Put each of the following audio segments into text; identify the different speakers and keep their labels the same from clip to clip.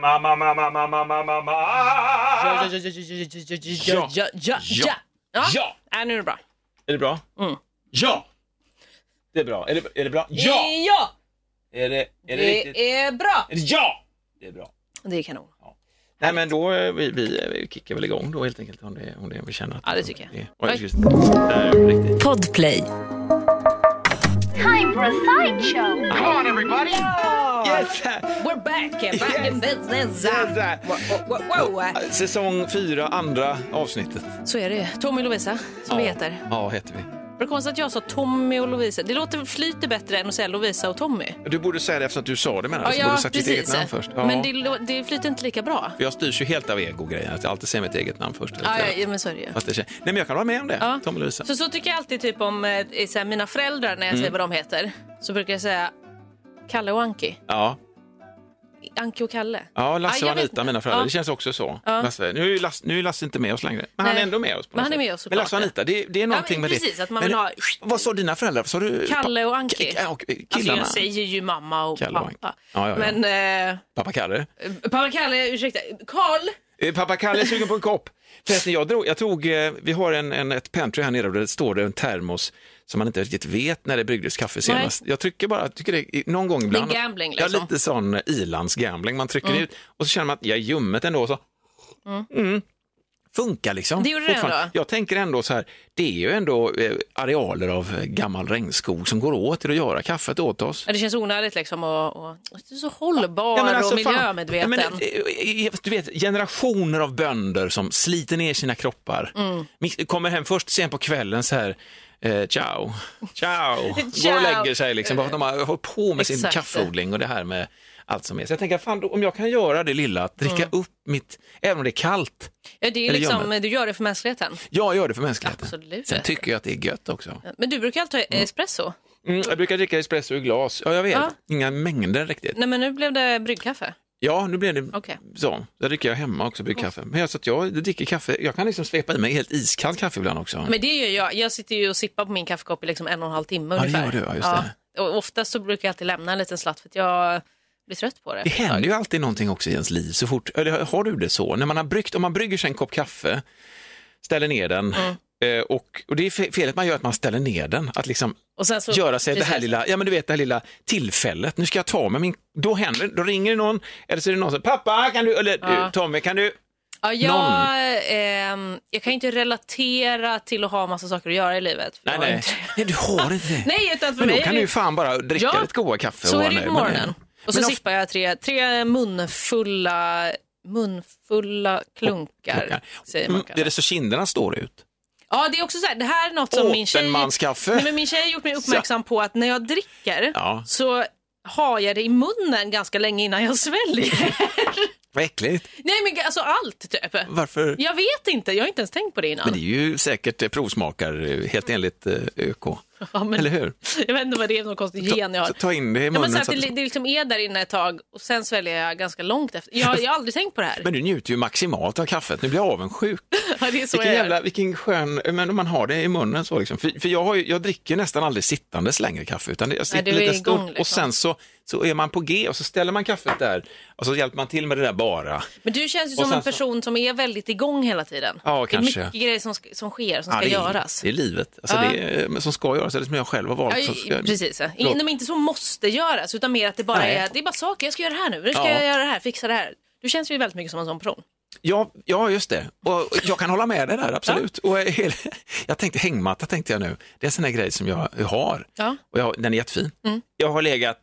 Speaker 1: ma, ma, ma, ma, ma, ma, ma, ma, ma. Ah,
Speaker 2: Ja, ja, ja, ja, ja, ja, ja, ja, ja, ja. Ja.
Speaker 1: Ja!
Speaker 2: Ja, nu är det bra.
Speaker 1: Är det bra?
Speaker 2: Mm.
Speaker 1: Ja! Det är bra. Är det, är det bra? Ja!
Speaker 2: Ja!
Speaker 1: Är det, er är det, riktigt?
Speaker 2: Det är Eh, bra.
Speaker 1: Är det ja! Det är bra.
Speaker 2: Det är kanon.
Speaker 1: Nej men då, eh, vi, vi, vi kickar väl igång då helt enkelt om det, om det vi känner att...
Speaker 2: Ja, det er- tycker jag.
Speaker 1: Det, oj,
Speaker 2: Oj.
Speaker 1: just, där, riktigt.
Speaker 3: Podplay.
Speaker 4: Time for a sideshow.
Speaker 1: Yes!
Speaker 2: We're back, eh, back in business.
Speaker 1: Yes, eh.
Speaker 2: Wow, wow, wow.
Speaker 1: Säsong fyra, andra avsnittet.
Speaker 2: Så är det ju. Tommy och Lovisa, som vi heter.
Speaker 1: Ja, heter vi.
Speaker 2: Var det konstigt att jag sa Tommy och Lovisa? Det låter flyter bättre än att säga Lovisa och Tommy.
Speaker 1: Du borde säga det eftersom att du sa det menar jag. Så borde du sagt ditt eget namn först. Ja.
Speaker 2: Men det, lå- det flyter inte lika bra.
Speaker 1: För jag styrs ju helt av ego-grejen, att jag alltid säger mitt eget namn först.
Speaker 2: Ja, ja, ja, men så är det ju.
Speaker 1: För att det kän- Nej, men jag kan vara med om det,
Speaker 2: Ja.
Speaker 1: Tom och Lovisa.
Speaker 2: Så, så tycker jag alltid typ om eh, i så här, mina föräldrar
Speaker 1: Mm.
Speaker 2: när jag säger vad de heter. Så brukar jag säga Kalle och Anki.
Speaker 1: Ja.
Speaker 2: Anki och Kalle.
Speaker 1: ja, Lasse
Speaker 2: Ja,
Speaker 1: och
Speaker 2: jag vet
Speaker 1: Anita,
Speaker 2: inte.
Speaker 1: mina föräldrar.
Speaker 2: Ja.
Speaker 1: Det känns också så.
Speaker 2: Ja.
Speaker 1: Lasse, nu, är Lasse, nu är Lasse inte med oss längre, men han
Speaker 2: Nej.
Speaker 1: är ändå med oss. På
Speaker 2: Men
Speaker 1: något
Speaker 2: han är
Speaker 1: sätt.
Speaker 2: med oss
Speaker 1: Men Lasse och
Speaker 2: såklart.
Speaker 1: Anita, det, det är någonting med det.
Speaker 2: precis, att man vill
Speaker 1: Men-
Speaker 2: ha-
Speaker 1: Vad sa dina föräldrar? Sa du...
Speaker 2: Kalle och Anki.
Speaker 1: K- och eh,
Speaker 2: Alltså,
Speaker 1: killarna?
Speaker 2: jag säger ju mamma och
Speaker 1: Kalle och Anki.
Speaker 2: pappa.
Speaker 1: Ja, ja, ja.
Speaker 2: Men eh,
Speaker 1: Pappa Kalle?
Speaker 2: pappa Kalle, ursäkta, Karl.
Speaker 1: Eh, Pappa Kalle är sugen på en kopp. Förresten, jag, drog, jag tog, eh, vi har en, en, ett pantry här nere och det står det en termos som man inte riktigt vet när det bryggdes kaffe senast. Jag trycker bara, jag tycker det är- någon gång ibland.
Speaker 2: gambling,
Speaker 1: Ja,
Speaker 2: liksom. Mm.
Speaker 1: lite sån eh, i-lands-gambling. Man trycker ut och så känner man att jag är ljummet ändå. och Så. Mm. Funkar liksom.
Speaker 2: Det gjorde det
Speaker 1: fortfarande.
Speaker 2: ändå.
Speaker 1: Jag tänker ändå så här, det är ju ändå eh, arealer av eh, gammal regnskog som går åt till att göra kaffet åt oss.
Speaker 2: Ja, Det känns onödigt liksom och, och du är så hållbar
Speaker 1: Ja, men alltså,
Speaker 2: och
Speaker 1: fan.
Speaker 2: miljömedveten.
Speaker 1: Ja, men, eh, eh, du vet, generationer av bönder som sliter ner sina kroppar.
Speaker 2: Mm.
Speaker 1: Mix- Kommer hem först sen på kvällen så här, eh, ciao, ciao, går och lägger sig liksom. Bara för att de har hållit på med sin
Speaker 2: Exakt.
Speaker 1: kaffeodling och det här med allt som är. Så jag tänker, fan, då, om jag kan göra det lilla, att dricka
Speaker 2: Mm.
Speaker 1: upp mitt, även om det är kallt,
Speaker 2: Ja, det är ju
Speaker 1: Eller
Speaker 2: liksom,
Speaker 1: gömmer.
Speaker 2: du gör det för mänskligheten.
Speaker 1: jag gör det för mänskligheten.
Speaker 2: Absolut.
Speaker 1: Sen tycker jag att det är gött också.
Speaker 2: Men du brukar alltid ha espresso.
Speaker 1: Mm, jag brukar dricka espresso i glas, ja jag vet,
Speaker 2: Ja.
Speaker 1: inga mängder riktigt.
Speaker 2: Nej, men nu blev det bryggkaffe.
Speaker 1: Ja, nu blev det
Speaker 2: Okej.
Speaker 1: så. Där dricker jag hemma också, brygger kaffe. Men jag, så att jag dricker kaffe, jag kan liksom svepa i mig helt iskallt kaffe ibland också.
Speaker 2: Men det gör jag. Jag sitter ju och sippar på min kaffekopp i liksom en och en halv timme
Speaker 1: det
Speaker 2: ungefär.
Speaker 1: gör du, ja, just
Speaker 2: Och oftast så brukar jag alltid lämna en liten slatt för att jag blir trött på det.
Speaker 1: Det händer ju alltid någonting också i ens liv så fort, eller har du det så? När man har bryggt, om man brygger sig en kopp kaffe, ställer ner den,
Speaker 2: Mm.
Speaker 1: eh, och, och det är fe- felet man gör att man ställer ner den, att liksom
Speaker 2: Och sen så,
Speaker 1: göra sig det här
Speaker 2: precis.
Speaker 1: lilla, ja men du vet det här lilla tillfället, nu ska jag ta med min, då händer då ringer det någon, eller så är det någon som, pappa kan du, eller
Speaker 2: Ja.
Speaker 1: du, Tommy kan du,
Speaker 2: Ja, jag, ehm, jag kan ju inte relatera till att ha massa saker att göra i livet. för
Speaker 1: nej
Speaker 2: jag har
Speaker 1: nej,
Speaker 2: inte-
Speaker 1: nej du har inte det.
Speaker 2: nej utan för
Speaker 1: Men då
Speaker 2: mig
Speaker 1: kan
Speaker 2: är
Speaker 1: du
Speaker 2: det-
Speaker 1: ju fan bara dricka
Speaker 2: Ja,
Speaker 1: ditt goda kaffe
Speaker 2: Så
Speaker 1: och
Speaker 2: är det ju på
Speaker 1: med
Speaker 2: morgonen. Och så
Speaker 1: Men of-
Speaker 2: sippar jag tre, tre munfulla, munfulla klunkar. Säger man
Speaker 1: Mm, det är
Speaker 2: kanske.
Speaker 1: det så kinderna står ut.
Speaker 2: Ja, det är också så här, det här är något som min tjej...
Speaker 1: Återmanskaffe.
Speaker 2: Nej, men min tjej har gjort mig uppmärksam på att när jag dricker
Speaker 1: Ja.
Speaker 2: så har jag det i munnen ganska länge innan jag sväljer.
Speaker 1: Vad äckligt.
Speaker 2: Nej men alltså allt typ.
Speaker 1: Varför?
Speaker 2: Jag vet inte, jag har inte ens tänkt på det innan.
Speaker 1: Men det är ju säkert eh, provsmakar, eh, helt enligt eh, ÖK.
Speaker 2: Ja, men-
Speaker 1: Eller hur?
Speaker 2: Jag vet inte vad det är för någon konstig gen jag har.
Speaker 1: Ta, ta in det i
Speaker 2: Ja,
Speaker 1: munnen.
Speaker 2: men så att
Speaker 1: så att
Speaker 2: det, det liksom är där inne ett tag och sen sväljer jag ganska långt efter. Jag, jag har aldrig tänkt på det här.
Speaker 1: men du njuter ju maximalt av kaffet, nu blir jag avundsjuk.
Speaker 2: ja, det är så jag
Speaker 1: Vilken,
Speaker 2: gör.
Speaker 1: jävla, vilken skön, men om man har det i munnen så liksom. För, för jag, har ju, jag dricker nästan aldrig sittandes längre kaffe, utan det- jag sitter
Speaker 2: du är
Speaker 1: lite
Speaker 2: igång,
Speaker 1: stund
Speaker 2: liksom.
Speaker 1: och sen så, så är man på G och så ställer man kaffet där och så hjälper man till med det där bara.
Speaker 2: Men du känns ju
Speaker 1: Och
Speaker 2: som
Speaker 1: sen
Speaker 2: en person som är väldigt igång hela tiden.
Speaker 1: Ja,
Speaker 2: det är
Speaker 1: kanske.
Speaker 2: mycket grejer som, sk- som sker, som
Speaker 1: Ja,
Speaker 2: ska
Speaker 1: det är,
Speaker 2: göras.
Speaker 1: Det är livet, alltså,
Speaker 2: Ja.
Speaker 1: det är, eh, som ska göras, eller som jag själv har
Speaker 2: Ja,
Speaker 1: valt. så ska
Speaker 2: i-
Speaker 1: jag-
Speaker 2: precis. ja.
Speaker 1: Förlåt.
Speaker 2: In, de inte som måste göras, utan mer att det bara
Speaker 1: Nej.
Speaker 2: är, det är bara saker, jag ska göra det här nu, nu ska
Speaker 1: Ja.
Speaker 2: jag göra det här, fixa det här. Du känns ju väldigt mycket som en sån person.
Speaker 1: Ja, ja, just det. Och och jag kan hålla med dig där, absolut. Och eh, hela- jag tänkte hängmatta, tänkte jag nu. Det är en sån här grej som jag har.
Speaker 2: Ja.
Speaker 1: Och jag, den är jättefin.
Speaker 2: Mm.
Speaker 1: Jag har legat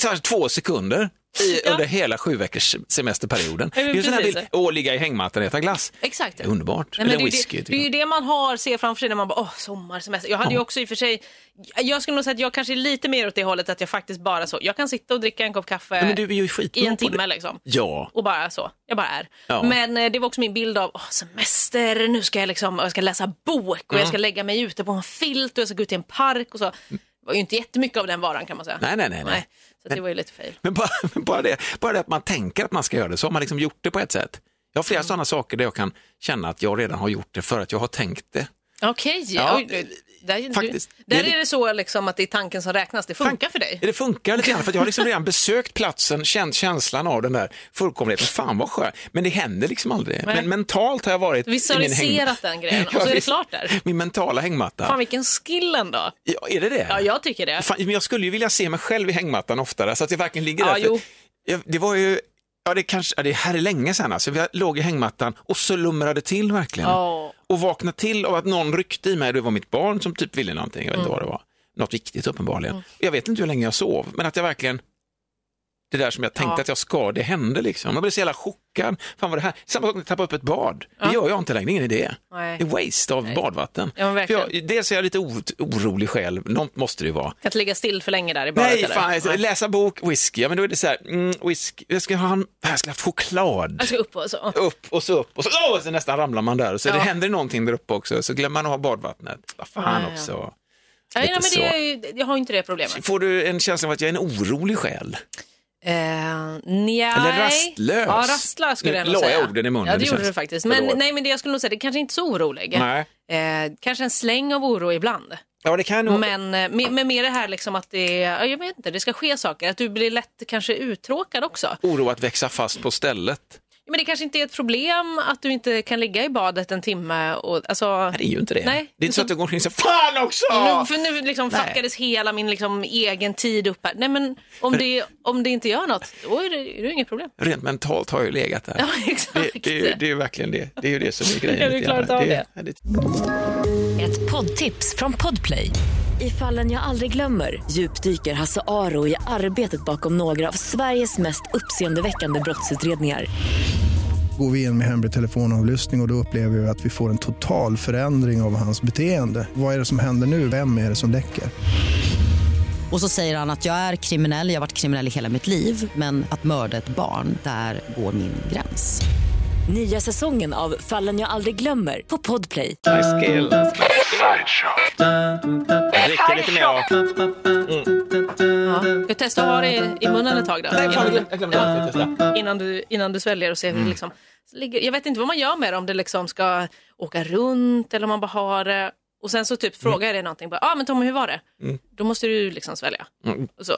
Speaker 1: så här, två sekunder i,
Speaker 2: Ja.
Speaker 1: under hela sju veckors semesterperioden. Det
Speaker 2: Ja, men
Speaker 1: är ju en sån här
Speaker 2: precis.
Speaker 1: bild, och ligga i hängmattan och äta glass.
Speaker 2: Exakt.
Speaker 1: Det är underbart.
Speaker 2: Nej, men
Speaker 1: Eller
Speaker 2: det, är ju
Speaker 1: whisky. typ.
Speaker 2: det,
Speaker 1: tycker
Speaker 2: det är ju det man har, ser framför sig när man bara, åh, sommar, semester. Jag hade ju också i och för sig, jag skulle nog säga att jag kanske är lite mer åt det hållet att jag faktiskt bara så, jag kan sitta och dricka en kopp kaffe
Speaker 1: jag. Ja, men du är ju skitbra
Speaker 2: i en
Speaker 1: på det.
Speaker 2: timme liksom.
Speaker 1: Ja,
Speaker 2: och bara så. Jag bara är.
Speaker 1: Ja.
Speaker 2: Men eh, det var också min bild av åh, semester, nu ska jag, liksom, jag ska läsa bok och jag ska lägga mig ute på en filt och jag ska gå ut i en park och så. Det var ju inte jättemycket av den varan kan man säga.
Speaker 1: Nej, nej, nej, nej.
Speaker 2: Så att det var ju lite fel.
Speaker 1: men bara, men bara, det, bara det att man tänker att man ska göra det, så har man liksom
Speaker 2: Mm.
Speaker 1: gjort det på ett sätt. Jag har flera sådana saker där jag kan känna att jag redan har gjort det för att jag har tänkt det.
Speaker 2: Okej,
Speaker 1: Ja, eh,
Speaker 2: Oj, där,
Speaker 1: faktiskt.
Speaker 2: Du, där
Speaker 1: Det är
Speaker 2: är det så liksom att det är tanken som räknas, det funkar för dig.
Speaker 1: Det funkar lite grann, för att jag har liksom redan besökt platsen, känt känslan av den där fullkomligheten. Fan vad skönt, men det händer liksom aldrig.
Speaker 2: Nej.
Speaker 1: Men mentalt har jag varit i min häng...
Speaker 2: Visualiserat den grejen och
Speaker 1: Ja,
Speaker 2: så är det
Speaker 1: visst.
Speaker 2: klart där.
Speaker 1: Min mentala hängmatta.
Speaker 2: Fan vilken skill ändå.
Speaker 1: Ja, är det det?
Speaker 2: Ja, jag tycker det.
Speaker 1: Fan, men jag skulle ju vilja se mig själv i hängmattan oftare, så att jag verkligen ligger
Speaker 2: Ja,
Speaker 1: där.
Speaker 2: jo.
Speaker 1: För jag, det var ju, ja det kanske, ja, det här är länge sedan alltså. Jag låg i hängmattan och så lumrade till verkligen.
Speaker 2: Ja.
Speaker 1: Och vaknade till av att någon ryckte i mig, det var mitt barn som typ ville någonting, jag vet inte
Speaker 2: Mm.
Speaker 1: vad det var. Något viktigt uppenbarligen. Jag vet inte hur länge jag sov, men att jag verkligen det där som jag tänkte
Speaker 2: Ja.
Speaker 1: att jag ska, det hände liksom. Jag blev så jävla chockad. Fan vad det här, samma sak när jag tappar upp ett bad. Det gör jag inte längre, ingen idé.
Speaker 2: Nej.
Speaker 1: Det är waste av badvatten.
Speaker 2: Ja, men
Speaker 1: För
Speaker 2: verkligen.
Speaker 1: jag, dels är jag lite o- orolig själv, något måste det ju vara.
Speaker 2: Kan inte ligga still för länge där i badet
Speaker 1: Nej,
Speaker 2: eller?
Speaker 1: fan, jag-
Speaker 2: Nej.
Speaker 1: läsa bok, whisky, ja men då är det så här, mm, whisky, jag ska ha, en- jag ska ha choklad.
Speaker 2: Jag ska upp och så.
Speaker 1: Upp och så upp och så, åh, så nästan ramlar man där. Så
Speaker 2: Ja.
Speaker 1: det händer någonting där uppe också, så glömmer man att ha badvattnet. Vad fan
Speaker 2: Ja, ja.
Speaker 1: också.
Speaker 2: Nej,
Speaker 1: lite
Speaker 2: nej, men det är, ju- jag har ju inte det problemet.
Speaker 1: Får du en känsla av att jag är en orolig själ?
Speaker 2: Eh, nej.
Speaker 1: Eller rastlös.
Speaker 2: Ja, rastlös skulle
Speaker 1: Nu
Speaker 2: jag nog
Speaker 1: la jag
Speaker 2: säga.
Speaker 1: orden i munnen,
Speaker 2: Ja, det,
Speaker 1: det
Speaker 2: gjorde
Speaker 1: känns-
Speaker 2: du faktiskt. Men,
Speaker 1: Förlåt.
Speaker 2: nej, men det jag skulle nog säga, det kanske inte är så orolig.
Speaker 1: Nej.
Speaker 2: Eh, kanske en släng av oro ibland.
Speaker 1: Ja, det kan jag nog.
Speaker 2: Men eh, med, med, med det här liksom att det är, ja, jag vet inte, det ska ske saker. Att du blir lätt kanske uttråkad också.
Speaker 1: Oro att växa fast på stället.
Speaker 2: Men det kanske inte är ett problem att du inte kan ligga i badet en timme och alltså...
Speaker 1: Nej, det är ju inte det.
Speaker 2: Nej.
Speaker 1: Det är inte så att jag går omkring och säger, fan också!
Speaker 2: Nu, för nu liksom
Speaker 1: Nej.
Speaker 2: fuckades hela min liksom egen tid upp här. Nej men om, det, om det inte gör något, då är det, är det inget problem.
Speaker 1: Rent mentalt har jag ju legat där.
Speaker 2: Ja, exakt.
Speaker 1: Det, det, är ju, det är ju verkligen det. Det är ju det som är grejen.
Speaker 2: Ja, du
Speaker 1: lite grann.
Speaker 2: klarat av
Speaker 1: ja, det.
Speaker 3: Ett poddtips från Podplay. I fallen jag aldrig glömmer djupdyker Hasse Aro i arbetet bakom några av Sveriges mest uppseendeväckande brottsutredningar.
Speaker 4: Går vi in med hemlig telefonavlyssning och, och då upplever vi att vi får en total förändring av hans beteende. Vad är det som händer nu? Vem är det som läcker?
Speaker 5: Och så säger han att jag är kriminell, jag har varit kriminell i hela mitt liv men att mörda ett barn, där går min gräns.
Speaker 3: Nya säsongen av Fallen jag aldrig glömmer på Podplay.
Speaker 1: Jag dricker lite mer av...
Speaker 2: Ja. Ska jag testa att ha det i munnen ett tag då?
Speaker 1: Nej, fan, jag
Speaker 2: innan,
Speaker 1: glömde- jag glömde att testa.
Speaker 2: du, innan, du, innan du sväljer och ser hur det liksom... Ligger. Jag vet inte vad man gör med det, om det liksom ska åka runt eller om man bara har det. Och sen så typ frågar jag dig någonting, bara, ah, men Tommy hur var det? Då måste du liksom svälja. Och så.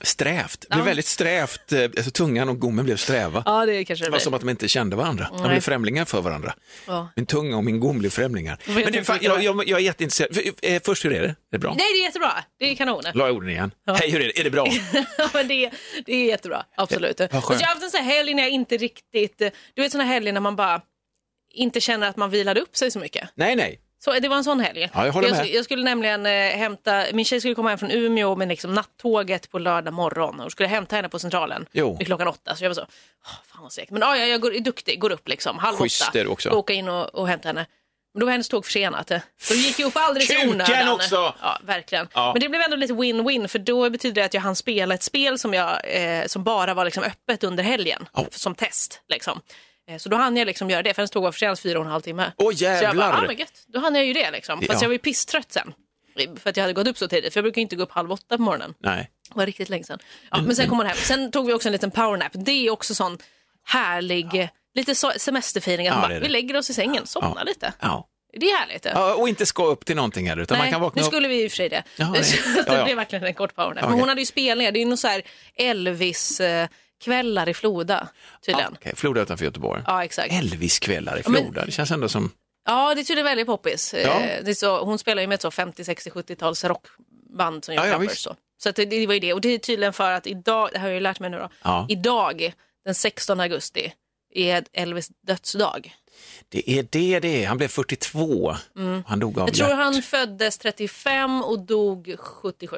Speaker 1: Strävt. Det blev
Speaker 2: Ja.
Speaker 1: väldigt strävt. eh, Alltså, tungan och gommen blev sträva.
Speaker 2: Ja, det kanske det
Speaker 1: Det var
Speaker 2: blir.
Speaker 1: som att de inte kände varandra. De
Speaker 2: Nej.
Speaker 1: blev främlingar för varandra.
Speaker 2: Ja.
Speaker 1: Min tunga och min gom blev främlingar. Men
Speaker 2: inte
Speaker 1: du, fan,
Speaker 2: vilka
Speaker 1: jag,
Speaker 2: det
Speaker 1: jag, jag är jätteintresserad. För, eh, först, hur är det? Är det bra?
Speaker 2: Nej, det är jättebra. Det är kanon.
Speaker 1: La jag orden igen? Hej, hur är det? Är det bra?
Speaker 2: Ja, men det, det är jättebra, absolut.
Speaker 1: vad skönt.
Speaker 2: Fast jag har haft en sån här helg när jag inte riktigt, du vet såna helger när man bara inte känner att man vilade upp sig så mycket.
Speaker 1: nej, nej.
Speaker 2: Så det var en sån helg.
Speaker 1: Ja, jag håller
Speaker 2: jag,
Speaker 1: med.
Speaker 2: sk- jag skulle nämligen eh, hämta, min tjej skulle komma hem från Umeå med liksom nattåget på lördag morgon och skulle hämta henne på Centralen
Speaker 1: Jo.
Speaker 2: vid klockan åtta. Så jag var så, "Åh, fan vad segt. Men ja, ja, jag går, är duktig, går upp liksom halv
Speaker 1: Schysst
Speaker 2: åtta.
Speaker 1: är du också.
Speaker 2: Ska åka in och, och hämta henne. Men då var hennes tåg försenat. Så det gick ju upp alldeles i
Speaker 1: Kuken
Speaker 2: onödan.
Speaker 1: också!
Speaker 2: Ja, verkligen.
Speaker 1: Ja.
Speaker 2: Men det blev ändå lite win-win för då betyder det att jag hann spela ett spel som, jag, eh, som bara var liksom öppet under helgen.
Speaker 1: Oh.
Speaker 2: Som test liksom. Eh, Så då hann jag liksom göra det, för hennes tåg var försenat fyra och en halv timme.
Speaker 1: Åh,
Speaker 2: Så jag bara,
Speaker 1: jävlar.
Speaker 2: ah, men gött. Då hann jag ju det liksom. Fast
Speaker 1: Ja.
Speaker 2: jag var ju pisstrött sen. För att jag hade gått upp så tidigt. För jag brukar ju inte gå upp halv åtta på morgonen.
Speaker 1: Nej.
Speaker 2: Det var riktigt länge sen. Ja,
Speaker 1: Mm.
Speaker 2: men sen kom hon hem. Sen tog vi också en liten powernap. Det är också sån härlig, eh, lite so- semesterfeeling. Att
Speaker 1: Ja,
Speaker 2: man
Speaker 1: det är
Speaker 2: bara,
Speaker 1: det.
Speaker 2: vi lägger oss i sängen, somnar lite.
Speaker 1: Ja.
Speaker 2: Det är härligt. Ja.
Speaker 1: Ja, och inte ska upp till någonting heller, utan man kan vakna
Speaker 2: nu
Speaker 1: upp.
Speaker 2: skulle vi i och för sig det.
Speaker 1: Ja, nej.
Speaker 2: Så att
Speaker 1: Ja,
Speaker 2: det
Speaker 1: ja.
Speaker 2: blev verkligen en kort powernap. Men
Speaker 1: Okej.
Speaker 2: hon hade ju spelningar. Det är ju någon så här Elvis-kvällar i Floda
Speaker 1: Ja,
Speaker 2: tydligen. Ja,
Speaker 1: okej, Floda utanför Göteborg.
Speaker 2: exakt.
Speaker 1: Elvis-kvällar i
Speaker 2: men-
Speaker 1: Floda, det känns ändå som...
Speaker 2: Ja, det är tydligen väldigt poppis.
Speaker 1: Ja.
Speaker 2: Eh, Det är så, hon spelar ju med ett så 50, 60, 70-tals rockband som gör
Speaker 1: Ja, ja,
Speaker 2: covers.
Speaker 1: visst.
Speaker 2: så så att det, det var ju det. Och det är tydligen för att idag, det här har jag ju lärt mig nu då,
Speaker 1: Ja.
Speaker 2: idag den 16 augusti är Elvis dödsdag.
Speaker 1: Det är det det är. Han blev 42. Han dog av
Speaker 2: Mm. Jag tror
Speaker 1: hjärt-
Speaker 2: han föddes 35 och dog 77.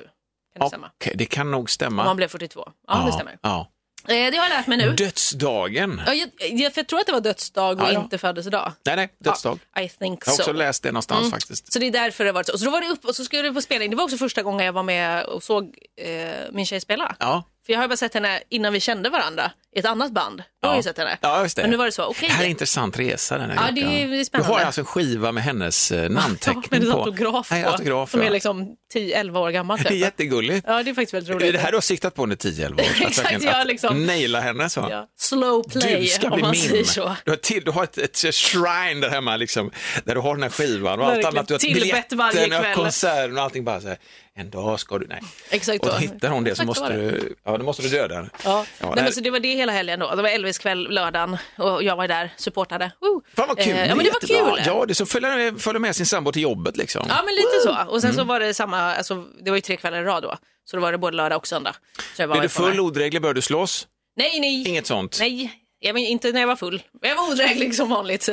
Speaker 2: Kan det stämma?
Speaker 1: Okej, det kan nog stämma.
Speaker 2: Om han blev 42. Ja, det stämmer.
Speaker 1: Ja.
Speaker 2: Eh, Det har jag lärt mig nu.
Speaker 1: Dödsdagen.
Speaker 2: Ja, jag, jag, för jag tror att det var dödsdag och
Speaker 1: Ja, ja.
Speaker 2: inte födelsedag.
Speaker 1: Nej, nej, dödsdag.
Speaker 2: Ja, Mm. I think
Speaker 1: Jag har
Speaker 2: so.
Speaker 1: också läst det någonstans faktiskt.
Speaker 2: Så det är därför det har varit så. Så då var det upp och så skulle vi på spelning. Det var också första gången jag var med och såg eh, min tjej spela.
Speaker 1: Ja.
Speaker 2: För jag har ju bara sett henne innan vi kände varandra i ett annat band. Då har jag ju sett henne.
Speaker 1: Ja, just det.
Speaker 2: Men nu var det så, okej.
Speaker 1: Det här är en intressant resa den här
Speaker 2: Ja, det är
Speaker 1: veckan.
Speaker 2: spännande.
Speaker 1: Du har alltså en skiva med hennes eh, namnteckning
Speaker 2: med en
Speaker 1: på.
Speaker 2: autograf
Speaker 1: Nej,
Speaker 2: på,
Speaker 1: autograf
Speaker 2: som
Speaker 1: ja.
Speaker 2: är liksom 10-11 år gammal.
Speaker 1: Det är
Speaker 2: Typ.
Speaker 1: jättegulligt.
Speaker 2: Ja, det är faktiskt väldigt
Speaker 1: Det är
Speaker 2: roligt.
Speaker 1: det här du har siktat på under 10-11 år? Att
Speaker 2: Exakt,
Speaker 1: verkligen-
Speaker 2: ja,
Speaker 1: att
Speaker 2: liksom.
Speaker 1: Naila henne så.
Speaker 2: ja. Slow play,
Speaker 1: Du ska
Speaker 2: om
Speaker 1: bli
Speaker 2: man säger
Speaker 1: min.
Speaker 2: så.
Speaker 1: Du har, till, du har ett, ett shrine där hemma liksom, där du har den här skivan och allt
Speaker 2: Verkligen.
Speaker 1: annat. Du har
Speaker 2: Tillbett
Speaker 1: biljetten
Speaker 2: varje kväll.
Speaker 1: och konserten och allting bara så här. En dag ska du, nej.
Speaker 2: Exakt
Speaker 1: Och
Speaker 2: så.
Speaker 1: hittar hon det så
Speaker 2: Exakt så
Speaker 1: måste
Speaker 2: var det.
Speaker 1: du, ja, då måste du döda den.
Speaker 2: Ja.
Speaker 1: Ja,
Speaker 2: Nej,
Speaker 1: det här-
Speaker 2: men så det var det hela helgen då. Det var Elvis kväll lördagen och jag var där, supportade. Woo!
Speaker 1: Fan vad kul,
Speaker 2: Eh, ja, men det var
Speaker 1: jättebra.
Speaker 2: kul.
Speaker 1: Ja, det är så följer följer med sin sambo till jobbet liksom.
Speaker 2: Ja, men lite så. Och sen
Speaker 1: Mm.
Speaker 2: så var det samma, alltså, det var ju tre kvällar i rad då. Så då var det både lördag och söndag. Så jag var
Speaker 1: Är du
Speaker 2: på den här.
Speaker 1: full, odräglig, bör du slåss?
Speaker 2: Nej, nej.
Speaker 1: Inget sånt?
Speaker 2: Nej, jag var inte när jag var full. Men jag var odräglig som vanligt.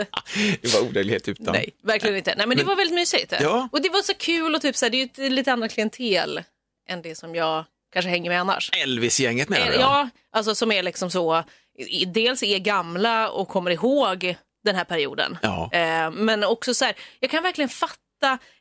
Speaker 1: Det var odräglighet utan.
Speaker 2: Nej, verkligen inte. Nej, men det var väldigt mysigt.
Speaker 1: Ja.
Speaker 2: Och det var så kul och typ så här, det är ju ett lite annat klientel än det som jag kanske hänger med annars.
Speaker 1: Elvis-gänget menar du?
Speaker 2: Eh, Ja, alltså som är liksom så, i- dels är gamla och kommer ihåg den här perioden.
Speaker 1: Ja.
Speaker 2: Eh, Men också så här, jag kan verkligen fatta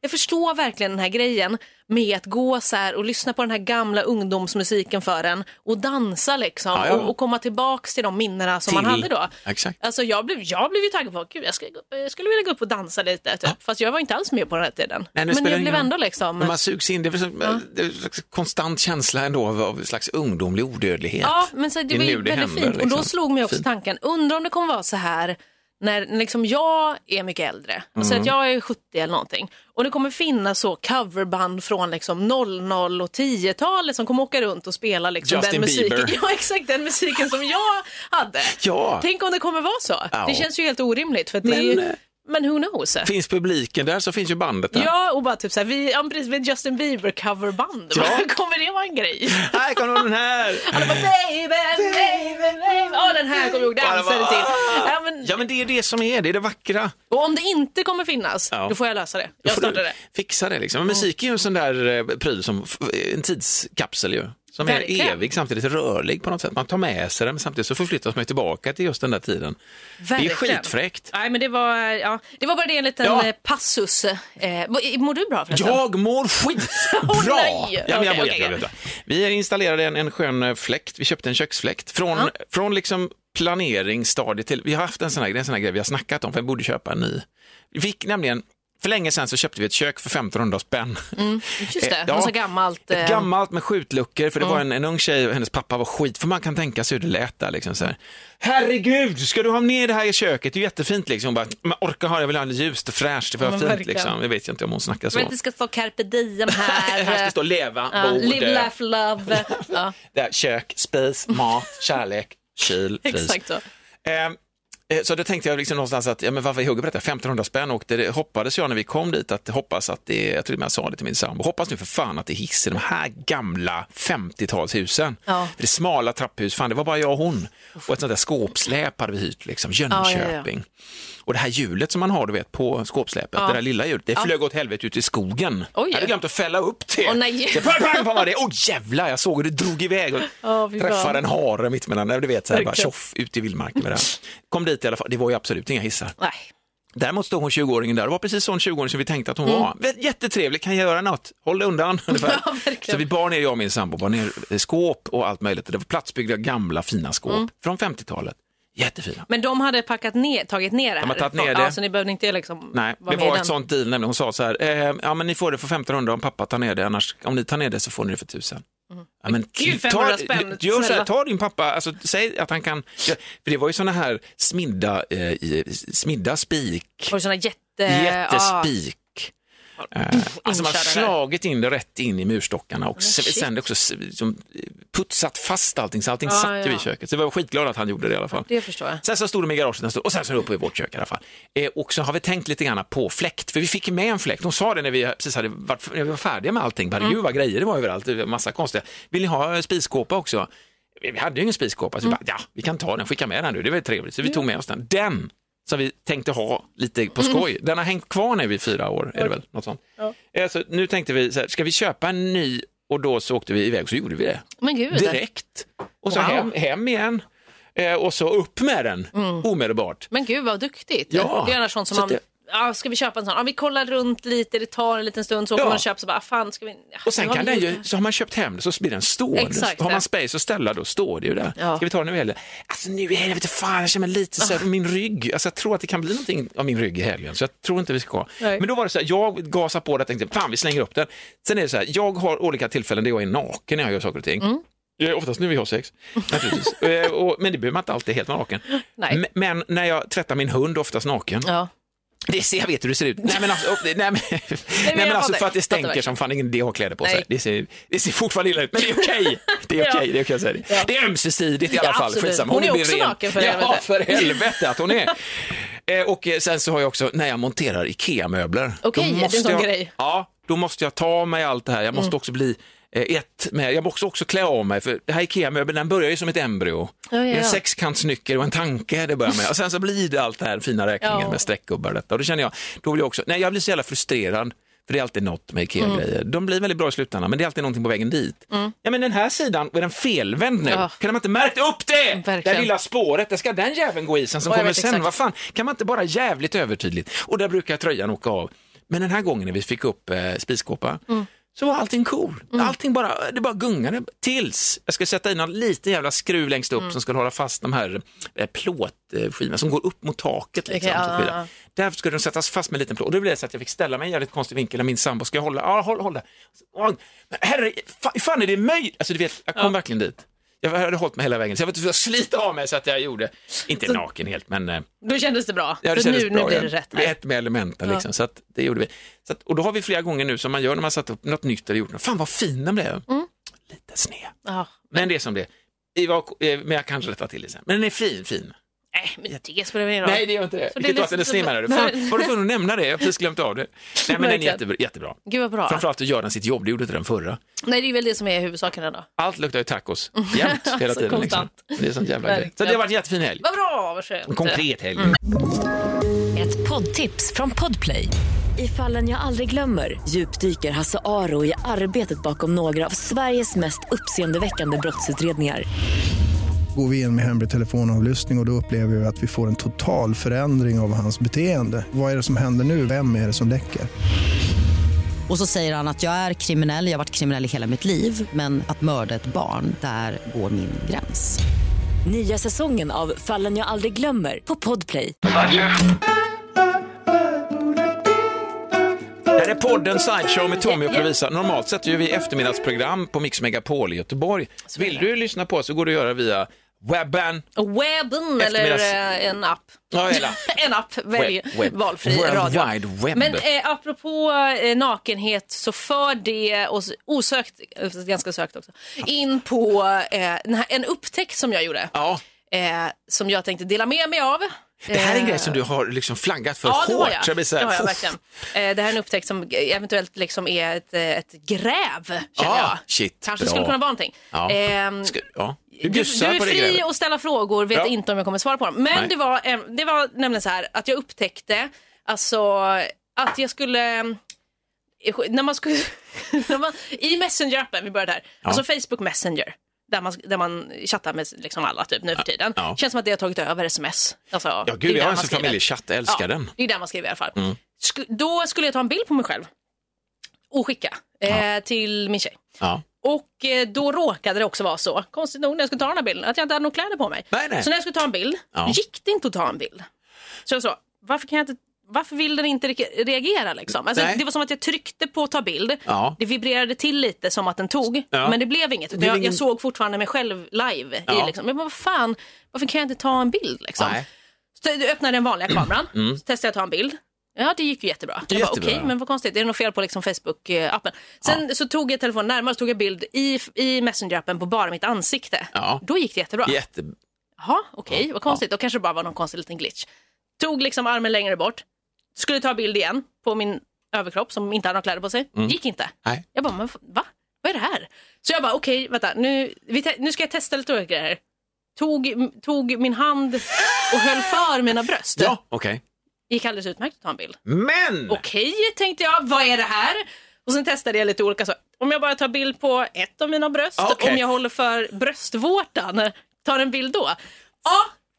Speaker 2: jag förstår verkligen den här grejen med att gå så här och lyssna på den här gamla ungdomsmusiken för en och dansa liksom
Speaker 1: Ja, ja.
Speaker 2: Och, och komma tillbaks till de minnena som man
Speaker 1: Till-
Speaker 2: hade då.
Speaker 1: Exakt.
Speaker 2: Alltså jag blev, jag blev ju taggad på, gud jag, ska gå upp, jag skulle vilja gå upp och dansa lite typ. Fast jag var inte alls med på den här tiden.
Speaker 1: Nej, det
Speaker 2: Men
Speaker 1: spelar
Speaker 2: jag
Speaker 1: ingen
Speaker 2: blev
Speaker 1: roll.
Speaker 2: ändå liksom,
Speaker 1: Men man sugs in, det är väl så, det är en slags konstant känsla ändå av, av en slags ungdomlig odödlighet.
Speaker 2: Ja, men så, det,
Speaker 1: Det är
Speaker 2: var ju
Speaker 1: nu det
Speaker 2: väldigt
Speaker 1: händer,
Speaker 2: fint. Och då
Speaker 1: liksom.
Speaker 2: slog mig också
Speaker 1: Fint.
Speaker 2: tanken, undrar om det kommer vara så här när liksom jag är mycket äldre, och
Speaker 1: Mm.
Speaker 2: säger att jag är 70 eller någonting, och det kommer finnas så coverband från liksom 00 och 10-talet som kommer åka runt och spela liksom den
Speaker 1: Justin
Speaker 2: musiken.
Speaker 1: Bieber.
Speaker 2: Ja, exakt den musiken som jag hade.
Speaker 1: Ja.
Speaker 2: Tänk om det kommer vara så.
Speaker 1: Ja.
Speaker 2: Det känns ju helt orimligt. För att det men,
Speaker 1: Men,
Speaker 2: är ju,
Speaker 1: eh,
Speaker 2: men who knows?
Speaker 1: Finns publiken där så finns ju bandet där.
Speaker 2: Ja, och bara typ så här, vi, ja, men precis, vi är ett Justin Bieber coverband.
Speaker 1: Ja.
Speaker 2: Kommer det vara en grej?
Speaker 1: Här kommer den här!
Speaker 2: Alla bara, baby, baby, baby. Ja, den här kommer jag ihåg,
Speaker 1: Alla bara,
Speaker 2: dansade till.
Speaker 1: "Ah!"
Speaker 2: Ja, men,
Speaker 1: Ja men det är det som är, det är det vackra.
Speaker 2: och om det inte kommer finnas,
Speaker 1: Ja.
Speaker 2: då får jag lösa det.
Speaker 1: Då
Speaker 2: Jag
Speaker 1: får du
Speaker 2: startar det.
Speaker 1: Fixa det liksom. Men musik är ju en sån där eh, pryl som, f- en tidskapsel ju. Som är
Speaker 2: Verkligen.
Speaker 1: evig samtidigt rörlig på något sätt. Man tar med sig den men samtidigt så förflyttas man ju tillbaka till just den där tiden. Det är
Speaker 2: Verkligen.
Speaker 1: skitfräckt.
Speaker 2: Nej, men det var, ja, det var bara det en liten
Speaker 1: Ja.
Speaker 2: eh, passus. Eh, vad- mår du bra förresten?
Speaker 1: Jag mår
Speaker 2: Åh,
Speaker 1: skitbra!
Speaker 2: nej.
Speaker 1: ja, men jag
Speaker 2: Okej,
Speaker 1: mår
Speaker 2: okej,
Speaker 1: jättebra. vet du. Vi installerade en, en skön eh, fläkt, vi köpte en köksfläkt. Från, från liksom planering, stadie till, vi har haft en sån här, det är en sån här grej vi har snackat om, för jag borde köpa en ny. Vi fick nämligen, för länge sedan så köpte vi ett kök för 1500 spänn.
Speaker 2: Mm, Just det,
Speaker 1: Eh,
Speaker 2: något så gammalt. eh, Mm.
Speaker 1: Ett gammalt med skjutluckor, för det var en, en ung tjej och hennes pappa var skit, för man kan tänka sig hur det lät där. Liksom, så här. Herregud, ska du ha ner det här i köket? Det är ju jättefint. Liksom. Hon bara, "Men orkar ha det, jag vill ha det ljust och fräscht, det får
Speaker 2: men
Speaker 1: vara fint.
Speaker 2: verkligen.
Speaker 1: Liksom. Jag vet ju inte om hon snackar så.
Speaker 2: Men det ska stå carpe diem här.
Speaker 1: Här ska stå leva,
Speaker 2: Ja,
Speaker 1: bo,
Speaker 2: live,
Speaker 1: dö.
Speaker 2: laugh, love. Ja,
Speaker 1: Där, kök, spis, mat, kärlek, kyl, frys.
Speaker 2: exakt så.
Speaker 1: Eh, eh, så då tänkte jag liksom någonstans att, ja, men varför hugger på detta? 1500 spänn och det hoppades jag när vi kom dit att hoppas att det, jag tror jag sa det till min sambo, hoppas nu för fan att det är hiss i de här gamla 50-talshusen.
Speaker 2: Ja.
Speaker 1: För det är smala trapphus, fan det var bara jag och hon. Och ett sånt där skåpsläp hade vi hyrt, liksom,
Speaker 2: ja, ja.
Speaker 1: Jönköping. Och det här hjulet som man har du vet på skåpsläpet, det där lilla hjulet, det flög åt helvete ut i skogen.
Speaker 2: Oj.
Speaker 1: jag hade glömt att fälla upp det.
Speaker 2: Åh, nej.
Speaker 1: Det pang, pang, pang var det. Åh jävlar, jag såg hur det drog iväg. Och
Speaker 2: Ja, fy fan.
Speaker 1: träffade en hare mitt mellan, du vet så här, bara
Speaker 2: Verkligen.
Speaker 1: tjoff, ut i vildmarken med det här. Kom dit i alla fall, det var ju absolut inga hissar.
Speaker 2: Nej.
Speaker 1: Däremot stod hon 20-åringen där, det var precis sån 20-åring som vi tänkte att hon var. Vä- Jättetrevlig, kan jag göra något? Håll dig undan. ungefär.
Speaker 2: Mm. Ja, verkligen.
Speaker 1: så vi bar ner, jag och min sambo, bar ner eh, skåp och allt möjligt. Det var platsbyggda gamla fina skåp
Speaker 2: Mm.
Speaker 1: från 50-talet. Jättefina.
Speaker 2: Men de hade packat ner, tagit ner det här.
Speaker 1: har tagit ner
Speaker 2: Ja,
Speaker 1: det.
Speaker 2: så ni behövde inte liksom
Speaker 1: Nej,
Speaker 2: vara
Speaker 1: det
Speaker 2: med i
Speaker 1: var
Speaker 2: den.
Speaker 1: ett sånt deal nämligen. Hon sa så här, eh, ja men ni får det för 1500 om pappa tar ner det, annars om ni tar ner det så får ni det för 1000. Ja, men
Speaker 2: Mm. Gud,
Speaker 1: ta-
Speaker 2: 500 spänn,
Speaker 1: Gör så
Speaker 2: snälla.
Speaker 1: här, ta din pappa, alltså, säg att han kan, ja, för det var ju såna här smidda, eh, i- smidda spik,
Speaker 2: Var det såna jätte... ja.
Speaker 1: jättespik. Eh, alltså man har
Speaker 2: inkörda där.
Speaker 1: slagit in det rätt in i murstockarna och s-
Speaker 2: shit.
Speaker 1: sen också s- liksom, putsat fast allting, så allting
Speaker 2: Ja,
Speaker 1: satt ju
Speaker 2: ja.
Speaker 1: i köket. Så jag var skitglad att han gjorde det i alla fall.
Speaker 2: Det förstår jag.
Speaker 1: Sen så stod de i garaget en stund och sen så är de uppe i vårt kök i alla fall. Eh, och så har vi tänkt lite grann på fläkt, för vi fick med en fläkt. Hon sa det när vi precis hade varit, när vi var färdiga med allting. Bara, Gud vad grejer det var överallt, det var massa konstiga. Vill ni ha spiskåpa också? Vi hade ju ingen spiskåpa, så vi bara, ja, vi kan ta den, skicka med den nu, det var ju trevligt. Så vi tog med oss den. Den som vi tänkte ha lite på skoj, den har hängt kvar nu i fyra år, är det väl? Något sånt. Eh, så nu tänkte vi, så här, ska vi köpa en ny? Och då så åkte vi iväg, så gjorde vi det
Speaker 2: Men gud.
Speaker 1: direkt. Och så
Speaker 2: Wow.
Speaker 1: hem, hem igen. Eh, och så upp med den omedelbart.
Speaker 2: Mm. Men gud vad duktigt.
Speaker 1: Ja.
Speaker 2: Det är annars sånt som
Speaker 1: Så
Speaker 2: man
Speaker 1: det-
Speaker 2: ja, ska vi köpa en sån? Ja, vi kollar runt lite, det tar en liten stund, så åker
Speaker 1: Ja.
Speaker 2: man och köper, så bara, ah, fan ska vi... Ja,
Speaker 1: Och sen
Speaker 2: nu har
Speaker 1: kan
Speaker 2: vi
Speaker 1: den
Speaker 2: gjort
Speaker 1: ju, så har man köpt hem det så blir den stående.
Speaker 2: Exakt,
Speaker 1: har
Speaker 2: ja.
Speaker 1: man space att ställa då står det ju där.
Speaker 2: Ja. Ah.
Speaker 1: Ska vi ta den nu i helgen? Alltså nu i helgen, vet du fan, jag känner mig lite så här, min rygg, alltså jag tror att det kan bli någonting av min rygg i helgen, så jag tror inte vi ska.
Speaker 2: Nej.
Speaker 1: Men då var det så här, jag gasade på det och tänkte, fan vi slänger upp den. Sen är det så här, jag har olika tillfällen där jag är naken när jag gör saker och ting. Mm. Oftast nu vi har sex, naturligtvis. Eh, och, men det behöver man inte alltid helt vara naken.
Speaker 2: Nej.
Speaker 1: Men- Men när jag tvättar min hund, oftast naken,
Speaker 2: det. Ja.
Speaker 1: det ser, jag vet hur det ser ut. Nej men alltså, nej, men, nej, men
Speaker 2: jag
Speaker 1: alltså
Speaker 2: fattar.
Speaker 1: för att det
Speaker 2: Fattar
Speaker 1: stänker
Speaker 2: verkligen.
Speaker 1: som fan ingen idé att ha kläder på sig.
Speaker 2: Nej.
Speaker 1: Det ser, det ser fortfarande illa ut, men det är okej. Det är okej,
Speaker 2: Ja.
Speaker 1: det är okej att säga det. Det är ömsesidigt i alla
Speaker 2: Ja,
Speaker 1: fall.
Speaker 2: absolut.
Speaker 1: Skitsamma.
Speaker 2: Hon är
Speaker 1: blir
Speaker 2: också
Speaker 1: ren.
Speaker 2: naken för
Speaker 1: Ja,
Speaker 2: helvete.
Speaker 1: för helvete att hon är. Eh, Och eh, sen så har jag också, när jag monterar IKEA-möbler. då
Speaker 2: Okej, det är en
Speaker 1: måste
Speaker 2: sån
Speaker 1: jag-
Speaker 2: grej. Mm.
Speaker 1: Ja, då måste jag ta mig allt det här. Jag måste också bli eh, ett med, jag måste också klä av mig för det här IKEA-möbeln den börjar ju som ett embryo.
Speaker 2: Ja, ja,
Speaker 1: Det är En
Speaker 2: ja.
Speaker 1: sexkantsnyckel och en tanke det börjar med och sen så blir det allt det här fina räkningen
Speaker 2: Ja.
Speaker 1: med streckgubbar och detta. Och då känner jag, då vill jag också, nej jag blir så jävla frustrerad för det är alltid något med IKEA-grejer.
Speaker 2: Mm.
Speaker 1: De blir väldigt bra i slutändan men det är alltid någonting på vägen dit. Ja men den här sidan, är den felvänd nu?
Speaker 2: Ja.
Speaker 1: Kan de inte märkt upp det?
Speaker 2: Verkligen.
Speaker 1: Det här lilla spåret, där ska den jäveln gå i sen som
Speaker 2: Ja, jag
Speaker 1: kommer
Speaker 2: vet
Speaker 1: sen.
Speaker 2: exakt.
Speaker 1: Vad fan, kan man inte bara jävligt övertydligt? Och där brukar tröjan åka av. Men den här gången när vi fick upp eh, spiskåpa
Speaker 2: Mm.
Speaker 1: så var allting cool. Allting bara, det bara gungade tills jag ska sätta in en liten jävla skruv längst upp
Speaker 2: Mm.
Speaker 1: som skulle hålla fast de här eh, plåtskivorna som går upp mot taket. Liksom,
Speaker 2: Okej,
Speaker 1: så att
Speaker 2: ja,
Speaker 1: vi-
Speaker 2: ja, ja.
Speaker 1: Där skulle de sättas fast med en liten plåt. Och då blev det så att jag fick ställa mig i en jävligt konstig vinkel när min sambo ska jag hålla. Ja, håll, håll där. Ja, Men herre, fa- hur fan är det möjligt? Alltså du vet, jag kom verkligen dit. Jag hade hållit mig hela vägen, så jag var tvungen att slita av mig så att jag gjorde, inte naken helt, men eh,
Speaker 2: Då kändes det bra.
Speaker 1: Ja, det
Speaker 2: För
Speaker 1: kändes
Speaker 2: nu,
Speaker 1: bra
Speaker 2: nu blir det
Speaker 1: igen.
Speaker 2: rätt.
Speaker 1: Vi är ett med elementen liksom, så att det gjorde vi. Så att, och då har vi flera gånger nu som man gör när man satt upp något nytt eller gjort något. Fan vad fin den blev.
Speaker 2: Mm.
Speaker 1: Lite sned.
Speaker 2: Ja.
Speaker 1: Men det är som det är. I vad- eh, Men jag kanske rättar till det sen. Men den är fin, fin.
Speaker 2: Nej, men det spelar väl ingen roll.
Speaker 1: Nej, det gör inte det.
Speaker 2: Så det
Speaker 1: Vilket
Speaker 2: är
Speaker 1: var att den är
Speaker 2: liksom-
Speaker 1: sned menar du.
Speaker 2: Nej.
Speaker 1: Fan, var du tvungen att nämna det? Jag har precis glömt av det. Nej, men den är
Speaker 2: Verkligen.
Speaker 1: jättebra. jättebra.
Speaker 2: Gud vad bra.
Speaker 1: Framförallt att göra den sitt jobb, det gjorde inte den förra.
Speaker 2: Nej, det är väl det som är huvudsaken ändå.
Speaker 1: Allt luktar ju tacos, jämt, hela
Speaker 2: Alltså,
Speaker 1: tiden. Liksom.
Speaker 2: konstant.
Speaker 1: Det är sånt jävla grej. Så det har varit en jättefin helg.
Speaker 2: Vad bra, vad skönt.
Speaker 1: En konkret helg.
Speaker 3: Ett poddtips från Podplay. I fallen jag aldrig glömmer djupdyker Hasse Aro i arbetet bakom några av Sveriges mest uppseendeväckande brottsutredningar.
Speaker 4: Går vi in med hemlig telefonavlyssning och, och då upplever vi att vi får en total förändring av hans beteende. Vad är det som händer nu? Vem är det som läcker?
Speaker 5: Och så säger han att jag är kriminell, jag har varit kriminell i hela mitt liv men att mörda ett barn, där går min gräns.
Speaker 3: Nya säsongen av Fallen jag aldrig glömmer på Podplay.
Speaker 1: Det här är podden Sideshow med Tommy och Lovisa. Normalt sett gör vi eftermiddagsprogram på Mix Megapol i Göteborg. Vill du lyssna på oss så går det att göra via webben.
Speaker 2: Webben eller
Speaker 1: Eftermiddags-
Speaker 2: eh, en app.
Speaker 1: Ja, hela.
Speaker 2: en app, välj
Speaker 1: Web- web.
Speaker 2: valfri
Speaker 1: World
Speaker 2: radio.
Speaker 1: Wide Web.
Speaker 2: Men eh, apropå eh, nakenhet så för det oss osökt, eh, ganska sökt också, in på eh, den här, en upptäckt som jag gjorde.
Speaker 1: Ja,
Speaker 2: Eh, som jag tänkte dela med mig av.
Speaker 1: det här är en grej som du har liksom flaggat för
Speaker 2: eh, Ja,
Speaker 1: hårt.
Speaker 2: det har jag.
Speaker 1: Så jag blir så
Speaker 2: det
Speaker 1: här,
Speaker 2: har
Speaker 1: "Fuff."
Speaker 2: jag verkligen. Eh, Det här är en upptäckt som eventuellt liksom är ett, eh, ett gräv, känner
Speaker 1: Ah,
Speaker 2: jag.
Speaker 1: shit,
Speaker 2: Kanske
Speaker 1: bra.
Speaker 2: skulle kunna vara någonting.
Speaker 1: Ja.
Speaker 2: Ehm,
Speaker 1: Ska, ja. Du
Speaker 2: du, du
Speaker 1: bjussar
Speaker 2: är
Speaker 1: på det
Speaker 2: fri
Speaker 1: grevet.
Speaker 2: att ställa frågor, vet
Speaker 1: Ja.
Speaker 2: inte om jag kommer svara på dem.
Speaker 1: Nej.
Speaker 2: Men det var, eh, det var nämligen så här att jag upptäckte alltså, att jag skulle... När man skulle när man, I Messenger-appen, vi började där, alltså Facebook Messenger. Där man, där man chattar med liksom alla typ, nu för tiden.
Speaker 1: ja.
Speaker 2: Känns som att det har tagit över sms. Alltså,
Speaker 1: Ja,
Speaker 2: det är
Speaker 1: gud, jag
Speaker 2: där
Speaker 1: har en
Speaker 2: man
Speaker 1: Mm. sån
Speaker 2: skriver.
Speaker 1: familjechatt, jag älskar den.
Speaker 2: Det är där man skriver i alla fall. Sk- då skulle jag ta en bild på mig själv och skicka eh, till min tjej.
Speaker 1: Ja.
Speaker 2: Och eh, då råkade det också vara så, konstigt nog när jag skulle ta den här bilden, att jag inte hade några kläder på mig.
Speaker 1: Nej, nej.
Speaker 2: Så när jag skulle ta en bild,
Speaker 1: Ja.
Speaker 2: gick det inte att ta en bild. Så jag sa, varför, kan jag inte, varför vill den inte re- reagera liksom? Alltså,
Speaker 1: Nej.
Speaker 2: det var som att jag tryckte på ta bild,
Speaker 1: Ja.
Speaker 2: det vibrerade till lite som att den tog,
Speaker 1: Ja.
Speaker 2: men det blev inget. Utan
Speaker 1: blev
Speaker 2: jag,
Speaker 1: ingen-
Speaker 2: jag såg fortfarande mig själv live.
Speaker 1: Ja.
Speaker 2: I, liksom. Men vad fan, varför kan jag inte ta en bild liksom?
Speaker 1: Nej.
Speaker 2: Så jag öppnade den vanliga kameran, så testade jag att ta en bild. Ja, det gick ju jättebra. Jag bara,
Speaker 1: Mm. Jättebra,
Speaker 2: okej,
Speaker 1: ja.
Speaker 2: men vad konstigt, är det något fel på liksom Facebook-appen? Sen så tog jag telefonen närmare, så tog jag bild i, i Messenger-appen på bara mitt ansikte.
Speaker 1: Ja.
Speaker 2: Då gick det jättebra.
Speaker 1: Jätte...
Speaker 2: Jaha, okej, vad konstigt. Då kanske det bara var någon konstig liten glitch. Tog liksom armen längre bort, skulle ta bild igen på min överkropp som inte hade några kläder på sig.
Speaker 1: Mm.
Speaker 2: Gick inte.
Speaker 1: Nej.
Speaker 2: Jag bara, men f- va? Vad är det här? Så jag bara, okej, vänta, nu, vi te- nu ska jag testa lite olika grejer. Tog, m- tog min hand och höll för mina bröst.
Speaker 1: Ja, okej.
Speaker 2: Gick alldeles utmärkt att ta en bild.
Speaker 1: Men!
Speaker 2: Okej, tänkte jag, vad är det här? Och sen testade jag lite olika saker. Om jag bara tar bild på ett av mina bröst,
Speaker 1: Ah, okej.
Speaker 2: om jag håller för bröstvårtan, tar en bild då. Ja,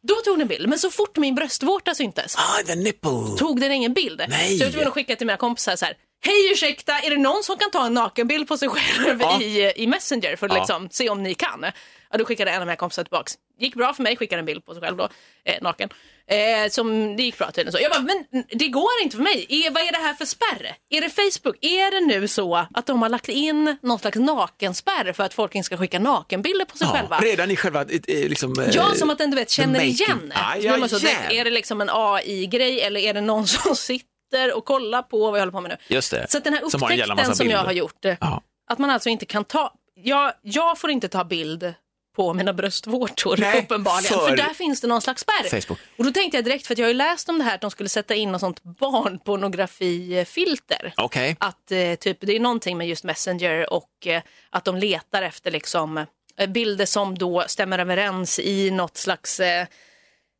Speaker 2: Då tog den bild, men så fort min bröstvårta syntes
Speaker 1: Ah, the nipple!
Speaker 2: Alltså, tog den ingen bild.
Speaker 1: Nej.
Speaker 2: Så jag var tvungen att skicka till mina kompisar så här. Hej ursäkta, är det någon som kan ta en nakenbild på sig själv
Speaker 1: Ja.
Speaker 2: i, i Messenger för att
Speaker 1: Ja.
Speaker 2: liksom, se om ni kan? Ja, då skickade en av mina kompisar tillbaks. Gick bra för mig, skickade en bild på sig själv då, eh, naken. Eh, som det gick bra tydligen. Så jag bara, men det går inte för mig. Är, vad är det här för spärr? Är det Facebook? Är det nu så att de har lagt in någon slags nakenspärr för att folk inte ska skicka nakenbilder på sig själva?
Speaker 1: Ja, redan i själva... eh, eh, Liksom, eh,
Speaker 2: Ja, som att den du vet känner
Speaker 1: making-
Speaker 2: igen.
Speaker 1: Ah,
Speaker 2: Så blir man
Speaker 1: ja,
Speaker 2: så,
Speaker 1: yeah.
Speaker 2: Är det liksom en AI-grej eller är det någon som sitter och kollar på vad jag håller på med nu?
Speaker 1: Just det.
Speaker 2: Så att den här
Speaker 1: Som har en jävla
Speaker 2: upptäckten
Speaker 1: massa
Speaker 2: som, jag
Speaker 1: bilder.
Speaker 2: har gjort, eh,
Speaker 1: Ja.
Speaker 2: att man alltså inte kan ta, jag, jag får inte ta bild på mina bröstvårtor
Speaker 1: Nej,
Speaker 2: uppenbarligen, för...
Speaker 1: för-
Speaker 2: där finns det någon slags spärr.
Speaker 1: Facebook.
Speaker 2: Och då tänkte jag direkt, för att jag har ju läst om det här, att de skulle sätta in något sånt barnpornografifilter.
Speaker 1: Okej.
Speaker 2: Att eh, typ, det är någonting med just Messenger och eh, att de letar efter liksom, eh, bilder som då stämmer överens i något slags eh,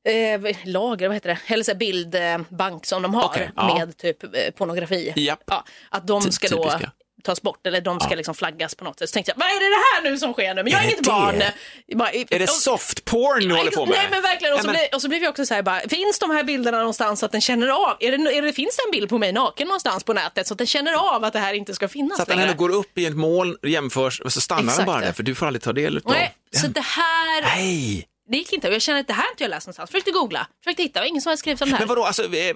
Speaker 2: eh, vad- lager, vad heter det? Eller så här bildbank som de har
Speaker 1: Okej, ja.
Speaker 2: med typ eh, pornografi.
Speaker 1: Japp.
Speaker 2: Ja, att de
Speaker 1: Ty-
Speaker 2: ska då
Speaker 1: typiska.
Speaker 2: tas bort eller de ska liksom flaggas på något sätt. Så tänkte jag, vad är det här nu som sker nu? Men jag är,
Speaker 1: Är det
Speaker 2: inget
Speaker 1: det?
Speaker 2: barn. Bara,
Speaker 1: Är det soft porn du håller på med?
Speaker 2: Nej men verkligen, och så,
Speaker 1: Nej, men-
Speaker 2: Blir, och så blev jag också så här bara, finns de här bilderna någonstans så att den känner av, är det, är det, finns det en bild på mig naken någonstans på nätet så att den känner av att det här inte ska finnas
Speaker 1: Så att den
Speaker 2: längre?
Speaker 1: ändå går upp i ett moln, jämförs och så stannar den
Speaker 2: Exakt.
Speaker 1: bara där för du får aldrig ta del av
Speaker 2: Nej, så
Speaker 1: den.
Speaker 2: det här,
Speaker 1: Nej!
Speaker 2: det gick inte. Och Jag känner att det här har inte jag läst någonstans. Försökte googla, försökte hitta, och ingen som hade skrivit om det här.
Speaker 1: Men vadå, alltså, eh, eh,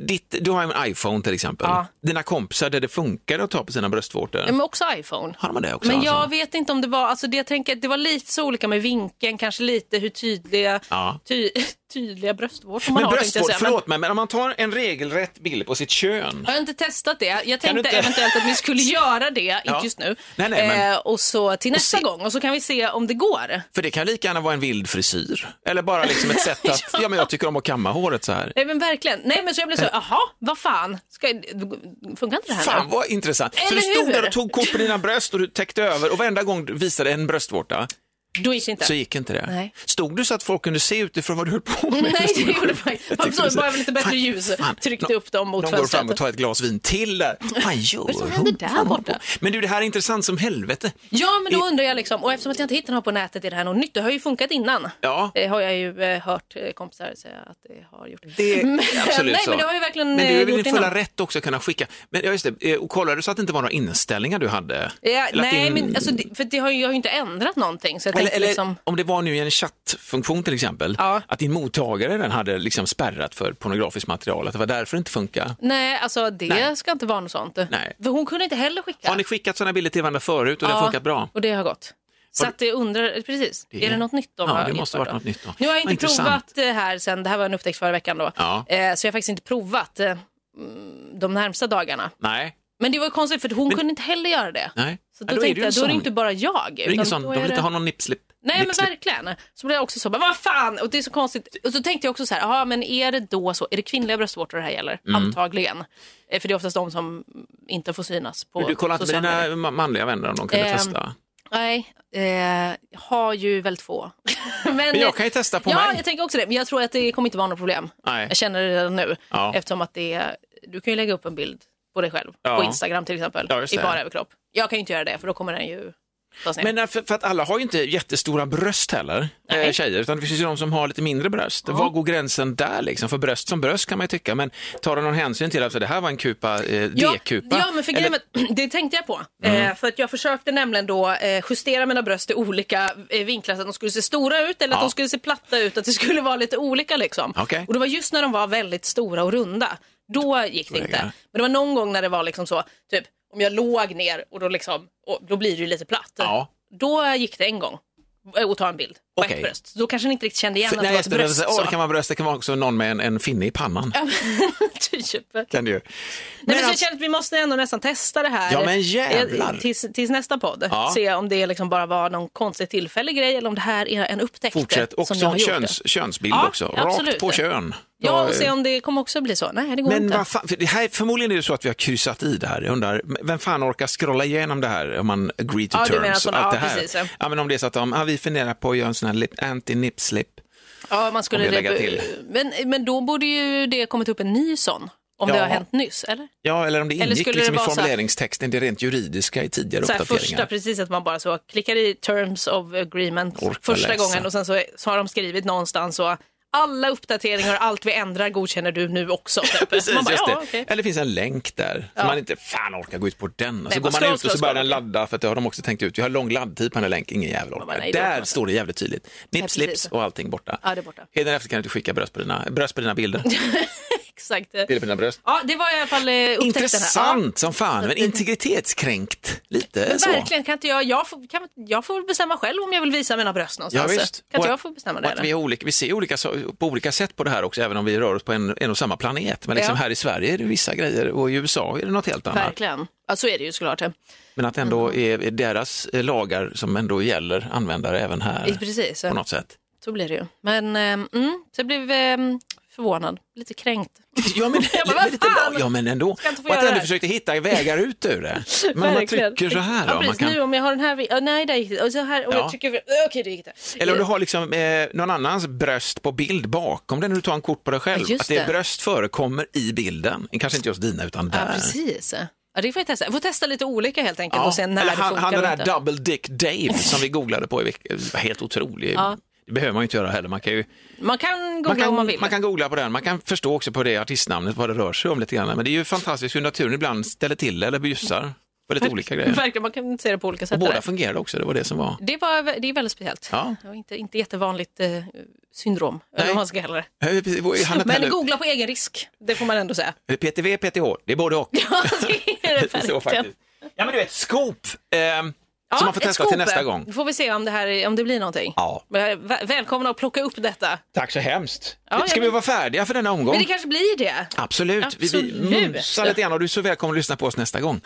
Speaker 1: ditt, du har en iPhone till exempel.
Speaker 2: Ja.
Speaker 1: Dina kompisar där det funkar att ta på sina bröstvårtor,
Speaker 2: Men också iPhone.
Speaker 1: har man det också?
Speaker 2: Men jag
Speaker 1: alltså?
Speaker 2: vet inte om det var, alltså det jag tänker, att det var lite så olika med vinkeln, kanske lite hur tydliga,
Speaker 1: Ja.
Speaker 2: ty, tydliga bröstvårtor man
Speaker 1: Men
Speaker 2: har. tänkte jag
Speaker 1: bröstvårtor,
Speaker 2: säga.
Speaker 1: förlåt mig, men om man tar en regelrätt bild på sitt kön.
Speaker 2: Jag har inte testat det. Jag tänkte
Speaker 1: inte-
Speaker 2: eventuellt att vi skulle göra det, inte
Speaker 1: Ja.
Speaker 2: just nu,
Speaker 1: Nej, nej, men-
Speaker 2: eh, och så till nästa
Speaker 1: se-
Speaker 2: gång och så kan vi se om det går.
Speaker 1: För det kan lika gärna vara en vild frisyr. Eller bara liksom ett sätt att, ja men jag tycker om att kamma håret så här.
Speaker 2: Nej men verkligen. Nej men så jag blev så, jaha, vad fan, Ska, funkar inte det här
Speaker 1: Fan
Speaker 2: nu?
Speaker 1: vad intressant. så
Speaker 2: Eller
Speaker 1: du stod
Speaker 2: hur?
Speaker 1: där och tog kort på dina bröst och du täckte över och varenda gång du visade en bröstvårta
Speaker 2: Då gick det inte.
Speaker 1: så gick inte det.
Speaker 2: Nej.
Speaker 1: Stod du så att folk kunde se utifrån vad du höll på med?
Speaker 2: Nej det gjorde
Speaker 1: Jag
Speaker 2: faktiskt
Speaker 1: tyckte
Speaker 2: inte.
Speaker 1: så-
Speaker 2: Bara med lite bättre
Speaker 1: Fan,
Speaker 2: ljus
Speaker 1: fan,
Speaker 2: tryckte
Speaker 1: nå-
Speaker 2: upp dem mot
Speaker 1: Någon går fram och
Speaker 2: fönstret.
Speaker 1: tar ett glas vin till där. Fan, gör
Speaker 2: som
Speaker 1: hon?
Speaker 2: händer där
Speaker 1: Fan, hon
Speaker 2: borta?
Speaker 1: på- Men du, det här är intressant som helvete.
Speaker 2: Ja men då undrar jag liksom, och eftersom att jag inte hittar något på nätet är det här något nytt. Det har ju funkat innan.
Speaker 1: Ja,
Speaker 2: Det har jag ju eh, hört eh, kompisar säga att det har gjort.
Speaker 1: det
Speaker 2: Men-
Speaker 1: är absolut
Speaker 2: Nej
Speaker 1: så.
Speaker 2: men det har ju verkligen
Speaker 1: Men du
Speaker 2: eh,
Speaker 1: är väl i
Speaker 2: gjort
Speaker 1: din fulla
Speaker 2: innan.
Speaker 1: rätt också att kunna skicka. Men ja, just det, eh, och kollade du så att det inte var några inställningar du hade?
Speaker 2: Ja,
Speaker 1: Eller att
Speaker 2: nej,
Speaker 1: din-
Speaker 2: men alltså, det, för det har ju, jag har ju inte ändrat någonting. Så jag
Speaker 1: Eller,
Speaker 2: tänkte
Speaker 1: eller
Speaker 2: liksom,
Speaker 1: om det var nu i en chattfunktion till exempel,
Speaker 2: Ja.
Speaker 1: att din mottagare den hade liksom spärrat för pornografiskt material, att det var därför det inte funkar.
Speaker 2: nej, alltså det
Speaker 1: Nej.
Speaker 2: ska inte vara något sånt.
Speaker 1: Nej.
Speaker 2: För hon kunde inte heller skicka.
Speaker 1: Har ni skickat sådana bilder till varandra förut och det
Speaker 2: Ja,
Speaker 1: har funkat bra?
Speaker 2: Och det har gått. Så
Speaker 1: Har
Speaker 2: att jag undrar, precis,
Speaker 1: Det-
Speaker 2: är det något nytt de
Speaker 1: Ja,
Speaker 2: har
Speaker 1: det måste
Speaker 2: infört
Speaker 1: varit
Speaker 2: då?
Speaker 1: något nytt då.
Speaker 2: Nu har jag
Speaker 1: Vad
Speaker 2: inte
Speaker 1: intressant.
Speaker 2: provat det här sen, det här var en upptäckt förra veckan då.
Speaker 1: Ja.
Speaker 2: Eh, så jag har faktiskt inte provat eh, mm, de närmsta dagarna.
Speaker 1: Nej,
Speaker 2: Men det var ju konstigt för hon kunde inte heller göra det.
Speaker 1: nej.
Speaker 2: Så
Speaker 1: Ja,
Speaker 2: då,
Speaker 1: då är
Speaker 2: tänkte
Speaker 1: du en
Speaker 2: jag, då är det
Speaker 1: sån.
Speaker 2: inte bara jag.
Speaker 1: Det är ingen
Speaker 2: utan
Speaker 1: sån,
Speaker 2: då
Speaker 1: de
Speaker 2: är
Speaker 1: vill
Speaker 2: det-
Speaker 1: inte ha någon nipslip.
Speaker 2: Nej men
Speaker 1: nipslip.
Speaker 2: verkligen. Så blev jag också så, bara, vad fan, och det är så konstigt. Och så tänkte jag också så här, aha, men är det då så, är det kvinnliga bröstvårtor det här gäller?
Speaker 1: Mm.
Speaker 2: Antagligen. Eh, För det är oftast de som inte får synas på
Speaker 1: Men Du kollar inte med
Speaker 2: sociala
Speaker 1: dina
Speaker 2: medier.
Speaker 1: ma- manliga vänner om de kunde
Speaker 2: Ehm,
Speaker 1: testa?
Speaker 2: Nej, eh, jag har ju väldigt få. men,
Speaker 1: Men jag kan ju testa på
Speaker 2: ja,
Speaker 1: mig.
Speaker 2: jag tänker också det. Men jag tror att det kommer inte vara något problem.
Speaker 1: Nej.
Speaker 2: Jag känner det redan nu.
Speaker 1: Ja.
Speaker 2: Eftersom att det är, du kan ju lägga upp en bild på dig själv
Speaker 1: Ja.
Speaker 2: på Instagram till exempel.
Speaker 1: Ja, just
Speaker 2: I
Speaker 1: det.
Speaker 2: bara överkropp. Jag kan ju inte göra det för då kommer den ju tas ner.
Speaker 1: Men nej, för, för att alla har ju inte jättestora bröst heller, eh, tjejer, utan det finns ju de som har lite mindre bröst. Var går gränsen där liksom? För bröst som bröst kan man ju tycka, men tar du någon hänsyn till att så det här var en kupa, eh, D-kupa?
Speaker 2: Ja, ja men för grejen,
Speaker 1: Eller- Mm.
Speaker 2: med- det tänkte jag på. Eh, för att jag försökte nämligen då eh, justera mina bröst i olika eh, vinklar så att de skulle se stora ut eller att
Speaker 1: Ja.
Speaker 2: de skulle se platta ut. Att det skulle vara lite olika liksom.
Speaker 1: Okej.
Speaker 2: Och det var just när de var väldigt stora och runda. Då gick det
Speaker 1: Stora
Speaker 2: inte.
Speaker 1: ägare.
Speaker 2: Men det var någon gång när det var liksom så, typ om jag låg ner och då liksom, och då blir det ju lite platt.
Speaker 1: Ja.
Speaker 2: Då gick det en gång eh, att ta en bild på ett
Speaker 1: Okej.
Speaker 2: bröst. Så Då kanske ni inte riktigt kände igen att det
Speaker 1: Nej,
Speaker 2: var
Speaker 1: just
Speaker 2: ett
Speaker 1: det, det, är
Speaker 2: bröst.
Speaker 1: så, åh,
Speaker 2: Så.
Speaker 1: det kan vara bröst, det kan vara också någon med en, en finne i pannan.
Speaker 2: typ.
Speaker 1: Kan det ju.
Speaker 2: Nej, men
Speaker 1: Men
Speaker 2: så jag
Speaker 1: alltså-
Speaker 2: känner att vi måste ändå nästan testa det här
Speaker 1: Ja, men jävlar.
Speaker 2: eh, tills, tills nästa podd.
Speaker 1: Ja.
Speaker 2: Se om det liksom bara var någon konstig tillfällig grej eller om det här är en upptäckt
Speaker 1: Fortsätt,
Speaker 2: som jag
Speaker 1: också
Speaker 2: har
Speaker 1: köns,
Speaker 2: gjort.
Speaker 1: könsbild
Speaker 2: Ja,
Speaker 1: också,
Speaker 2: absolut.
Speaker 1: rakt på kön.
Speaker 2: Ja,
Speaker 1: Då,
Speaker 2: och se
Speaker 1: eh,
Speaker 2: om det kommer också bli så. Nej, det går
Speaker 1: Men
Speaker 2: inte.
Speaker 1: vad fan, för det här, förmodligen är det så att vi har kryssat i det här. Jag undrar, m- vem fan orkar scrolla igenom det här om man agree to
Speaker 2: Ja, du menar
Speaker 1: terms?
Speaker 2: sådana-
Speaker 1: allt
Speaker 2: ja,
Speaker 1: det här.
Speaker 2: precis, ja.
Speaker 1: ja, men om det är så att de, ja, vi funderar på att göra en sån här lip, anti-nip-slip.
Speaker 2: ja, man skulle
Speaker 1: om jag lägger
Speaker 2: det-
Speaker 1: till.
Speaker 2: Men, men då borde ju det kommit upp en ny sån. Om det
Speaker 1: Ja.
Speaker 2: har hänt nyss, eller?
Speaker 1: Ja, eller om det ingick
Speaker 2: skulle
Speaker 1: liksom i
Speaker 2: det vara så här-
Speaker 1: formuleringstexten, det rent juridiska i tidigare
Speaker 2: Så här
Speaker 1: uppdateringar.
Speaker 2: första, precis att man bara så klickar i terms of agreement
Speaker 1: Orkar
Speaker 2: första
Speaker 1: läsa.
Speaker 2: gången och sen så, så har de skrivit någonstans så alla uppdateringar och allt vi ändrar godkänner du nu också. Typ.
Speaker 1: Precis,
Speaker 2: man bara,
Speaker 1: just det.
Speaker 2: ja, okej.
Speaker 1: Eller det finns en länk där
Speaker 2: Ja.
Speaker 1: som man inte fan orkar gå ut på den. Och så
Speaker 2: Nej,
Speaker 1: går
Speaker 2: bara
Speaker 1: man
Speaker 2: scroll,
Speaker 1: ut och
Speaker 2: scroll,
Speaker 1: så börjar den
Speaker 2: scroll.
Speaker 1: ladda för att det har de också tänkt ut. Vi har lång laddtid på den här länken, ingen jävel orkar.
Speaker 2: bara, nej, det orkar man
Speaker 1: där
Speaker 2: inte.
Speaker 1: står det jävligt tydligt. Nipp,
Speaker 2: precis.
Speaker 1: slips och allting borta.
Speaker 2: Ja, det är borta.
Speaker 1: Hädanefter kan du inte skicka bröst på dina, bröst på dina bilder.
Speaker 2: Exakt.
Speaker 1: bilder på dina bröst.
Speaker 2: Ja, det var i alla fall eh, upptäckten. här.
Speaker 1: Intressant som fan, men
Speaker 2: det-
Speaker 1: integritetskränkt. Lite
Speaker 2: Ja,
Speaker 1: så.
Speaker 2: verkligen, kan inte jag, jag, får, kan, jag får väl bestämma själv om jag vill visa mina bröst
Speaker 1: Ja,
Speaker 2: någonstans.
Speaker 1: visst.
Speaker 2: Alltså, Kan
Speaker 1: Och
Speaker 2: inte
Speaker 1: att-
Speaker 2: jag få bestämma det?
Speaker 1: och att vi,
Speaker 2: Eller?
Speaker 1: är olika, vi ser olika, so- på olika sätt på det här också, även om vi rör oss på en, en och samma planet. Men liksom
Speaker 2: Ja.
Speaker 1: här i Sverige är det vissa grejer och i USA är det något helt annat.
Speaker 2: Verkligen. Mm. Ja, så är det ju såklart. ja.
Speaker 1: Men att ändå är, är deras eh, lagar som ändå gäller användare även här
Speaker 2: Precis,
Speaker 1: på något sätt.
Speaker 2: så blir det ju. Men eh, mm, så jag blev eh, förvånad, lite kränkt.
Speaker 1: Ja men,
Speaker 2: Jag bara, vad
Speaker 1: men lite
Speaker 2: fan?
Speaker 1: lag- ja, men ändå.
Speaker 2: Ska inte få
Speaker 1: Och att
Speaker 2: göra det
Speaker 1: ändå
Speaker 2: här.
Speaker 1: försökte hitta vägar ut ur det. Men om man
Speaker 2: Verkligen.
Speaker 1: trycker så här då,
Speaker 2: Ja,
Speaker 1: om man
Speaker 2: precis,
Speaker 1: kan...
Speaker 2: nu om jag har den här, vi- ja, nej där gick det. Och så här, och
Speaker 1: Ja.
Speaker 2: jag trycker, över- okej det gick inte.
Speaker 1: Eller om du har liksom, eh, någon annans bröst på bild bakom den när du tar en kort på dig själv.
Speaker 2: Ja, just
Speaker 1: att det,
Speaker 2: det.
Speaker 1: bröst förekommer i bilden. Kanske inte just dina utan
Speaker 2: Ja,
Speaker 1: där.
Speaker 2: precis. Ja, det får jag testa. Jag får testa lite olika helt enkelt och se när
Speaker 1: Eller
Speaker 2: det
Speaker 1: han,
Speaker 2: funkar
Speaker 1: han den
Speaker 2: och
Speaker 1: där
Speaker 2: inte.
Speaker 1: Double Dick Dave som vi googlade på i veckan. Helt otrolig.
Speaker 2: Ja.
Speaker 1: Det behöver man ju inte göra heller. Man kan ju
Speaker 2: Man kan googla
Speaker 1: man kan,
Speaker 2: om man vill.
Speaker 1: kan googla på den, man kan förstå också på det artistnamnet vad det rör sig om lite grann. Men det är ju fantastiskt hur naturen ibland ställer till eller bjussar på lite olika grejer.
Speaker 2: Verkligen, man kan se det på olika sätt.
Speaker 1: Och båda
Speaker 2: där.
Speaker 1: fungerade också, det var det som var.
Speaker 2: Det, var, det är väldigt speciellt.
Speaker 1: Ja.
Speaker 2: Det var inte, inte jättevanligt eh, syndrom,
Speaker 1: Nej.
Speaker 2: eller vad man ska kalla det.
Speaker 1: Han hade
Speaker 2: Men
Speaker 1: heller-
Speaker 2: googla på egen risk, det får man ändå säga.
Speaker 1: PTV, PTH, det är både och.
Speaker 2: Ja, det är det
Speaker 1: Lite så
Speaker 2: verkligen.
Speaker 1: faktiskt. Ja men du vet, scoop! Ehm,
Speaker 2: Ja,
Speaker 1: som man får
Speaker 2: ett
Speaker 1: testa till
Speaker 2: scoop.
Speaker 1: nästa gång.
Speaker 2: Då får vi se om det, här, om det blir någonting.
Speaker 1: Ja,
Speaker 2: Men vä- Välkomna att plocka upp detta.
Speaker 1: tack så hemskt.
Speaker 2: Ja,
Speaker 1: Ska
Speaker 2: jag-
Speaker 1: vi vara färdiga för denna omgång?
Speaker 2: Men det kanske blir det.
Speaker 1: Absolut. Vi, vi
Speaker 2: Absolut.
Speaker 1: mumsar lite grann och du är så välkommen att lyssna på oss nästa gång.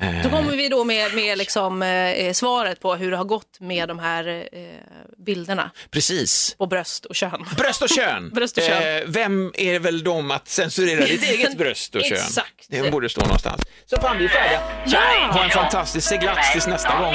Speaker 1: Eh,
Speaker 2: Då kommer vi då med, med liksom, eh, svaret på hur det har gått med de här eh, bilderna
Speaker 1: Precis.
Speaker 2: på bröst och kön.
Speaker 1: Bröst och kön.
Speaker 2: Bröst och kön.
Speaker 1: Eh, vem är väl de att censurera ditt eget bröst och kön?
Speaker 2: Exakt.
Speaker 1: Det borde stå någonstans. Så fan, vi är färdiga.
Speaker 2: Ja!
Speaker 1: Ha en fantastisk seglats tills nästa gång.